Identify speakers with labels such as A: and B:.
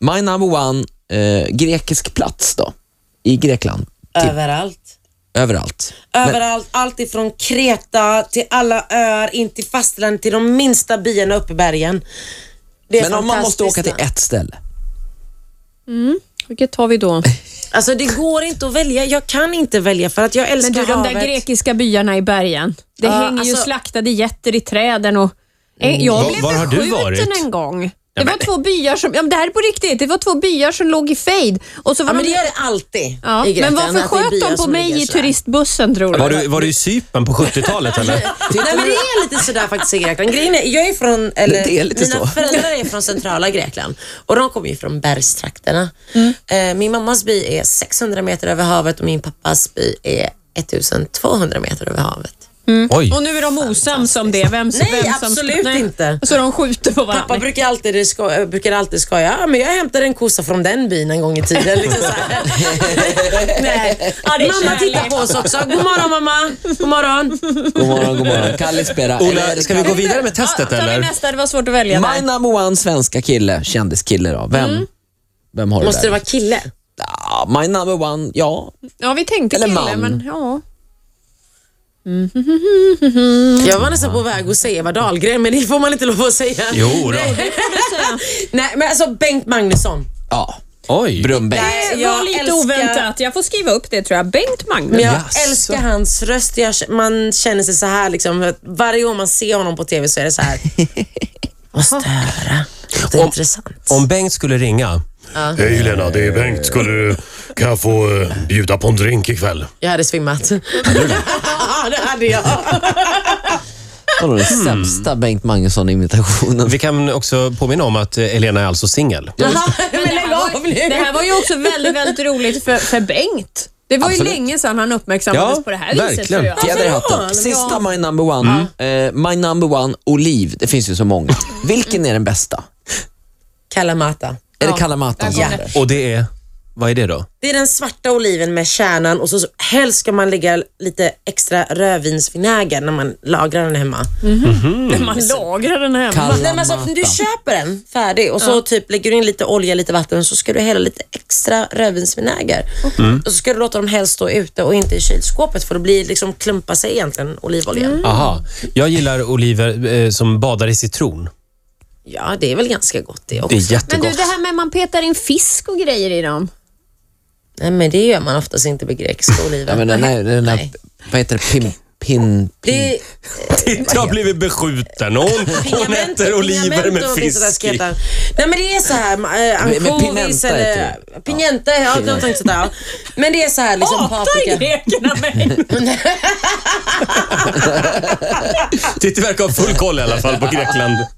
A: My number one, eh, grekisk plats då, i Grekland.
B: Typ. Överallt.
A: Överallt.
B: Överallt, allt ifrån Kreta till alla öar, in till fastlandet, till de minsta byarna uppe i bergen. Det är
A: Men om man måste
B: fantastiskt
A: åka till
B: land.
A: ett ställe.
C: Vilket tar vi då?
B: Alltså det går inte att välja. Jag kan inte välja för att jag
C: Men
B: älskar
C: du, de
B: havet.
C: där grekiska byarna i bergen. Det
B: Ja,
C: hänger ju
B: alltså- Mm.
C: slaktade getter i träden och... Eh, Jag
D: Var-
C: blev
D: var har du
C: beskjuten
D: varit?
C: en gång.
D: Ja,
C: Det var
D: men-
C: två byar som... Ja, men det här är på riktigt. Det var två byar som låg i fejd. Och så var
B: Ja, men
C: de...
B: det gör det alltid
C: Ja,
B: i Grekland.
C: men varför
B: att det är
C: sköt
B: byar
C: de på
B: som ligger
C: mig i
B: så här.
C: turistbussen tror
D: Var
C: du?
D: du, var du i Cypern på 70-talet eller?
B: Nej men det är lite sådär faktiskt i Grekland. Grejen är, jag är från, eller
A: Det är lite
B: mina
A: så.
B: föräldrar är från centrala Grekland och de kommer ju från bergstrakterna. Eh, min mammas by är 600 meter över havet och min pappas by är 1200 meter över havet.
D: Oj.
C: Och nu är de osams om det. Vem,
B: Nej,
C: vem som,
B: absolut inte.
C: Så de skjuter på varandra.
B: Pappa brukar alltid, sko- eh, brukar alltid skoja, "Ja, men jag hämtade en kossa från den byn en gång i tiden. Liksom så här. Nej.
C: Ja, det är
B: mamma
C: kärlek.
B: tittar på oss också. God morgon mamma. God morgon.
A: God morgon, god morgon. Kallispera.
D: Ola, ska vi gå vidare med testet
C: ja, tar vi
D: eller?
C: nästa, det var svårt att välja
A: My
C: där.
A: number one svenska kille, kändiskille då. Vem, vem har du
B: Mm. Måste
A: där?
B: det vara kille?
A: Ah, My number one, ja.
C: Ja, vi tänkte
A: Eller
C: kille,
A: man.
C: men ja.
B: Jag var nästan på väg att säga Eva Dahlgren, men det får man inte lov att säga.
D: Jo då.
B: Nej, men alltså Bengt Magnusson.
A: ja.
D: Oj.
A: Brunnberg.
B: Nej,
C: Det var lite oväntat. Jag får skriva upp det tror jag. Bengt Magnus.
B: Men jag
A: Jaså.
B: älskar hans röst. Jag, man känner sig så här liksom. att Varje gång man ser honom på TV så är det så här. Måste höra. Det är
D: Om-
B: intressant.
D: Om Bengt skulle ringa.
E: Hej Lena, det är Bengt. Skulle du, kan jag få eh, bjuda på en drink ikväll?
B: Jag hade svimmat. ja, det hade jag.
A: Det var den sämsta Bengt Magnusson-imitationen.
D: Mm. Vi kan också påminna om att eh, Elena är alltså singel.
B: Men
C: det,
B: lägg
C: här
B: av
C: var, ju- det
B: nu.
C: här var ju också väldigt, väldigt roligt för, för Bengt. Det var ju
A: Absolut.
C: länge sedan han uppmärksammades
D: Ja,
C: på det här viset.
D: verkligen.
C: Tror jag.
A: Fjäder i hatten.
B: Alltså,
A: Sista My number one.
B: Mm.
A: Eh, my number one, Oliv. Det finns ju så många. Vilken är den bästa?
B: Kalamata.
A: Är det Kalamata?
B: Ja.
D: Och det är, vad är det då?
B: Det är den svarta oliven med kärnan och så så- helst ska man lägga lite extra rödvinsvinäger när man lagrar den hemma.
C: När Alltså, man lagrar den hemma.
B: Nej, men alltså, du
A: Kalamata.
B: köper den färdig och så typ lägger du in lite olja, lite vatten och så ska du hälla lite extra rödvinsvinäger. Och så ska du låta dem helst stå ute och inte i kylskåpet för då blir liksom klumpa sig egentligen
D: Mm.
B: olivoljan.
D: Aha. Jag gillar oliver eh, som badar i citron.
B: Ja, det är väl ganska gott det också.
D: Det är
C: Men du,
D: jättegott.
C: det här med att man petar in fisk och grejer i dem.
B: Nej, men det gör man oftast inte med grekiska oliver.
A: Ja, men den här, den här,
B: Nej.
A: vad heter det? Pin, pin, pin.
B: Det är
D: Titta, jag har blivit beskjuten och hon, hon
B: Pingamento-
D: äter oliver
B: pingamento
D: med
B: och finns det där
D: fisk
B: ska
D: i.
B: heta. Nej men det är så här, eh,
A: Men- men
B: ansjovis
A: pimenta
B: eller
A: heter det.
B: pinjenta, ja, de tänkte sådär. ja. Men det är så här liksom
C: Hatar
B: paprika.
C: grekerna mig?
D: Titti verkar ha full koll i alla fall på Grekland.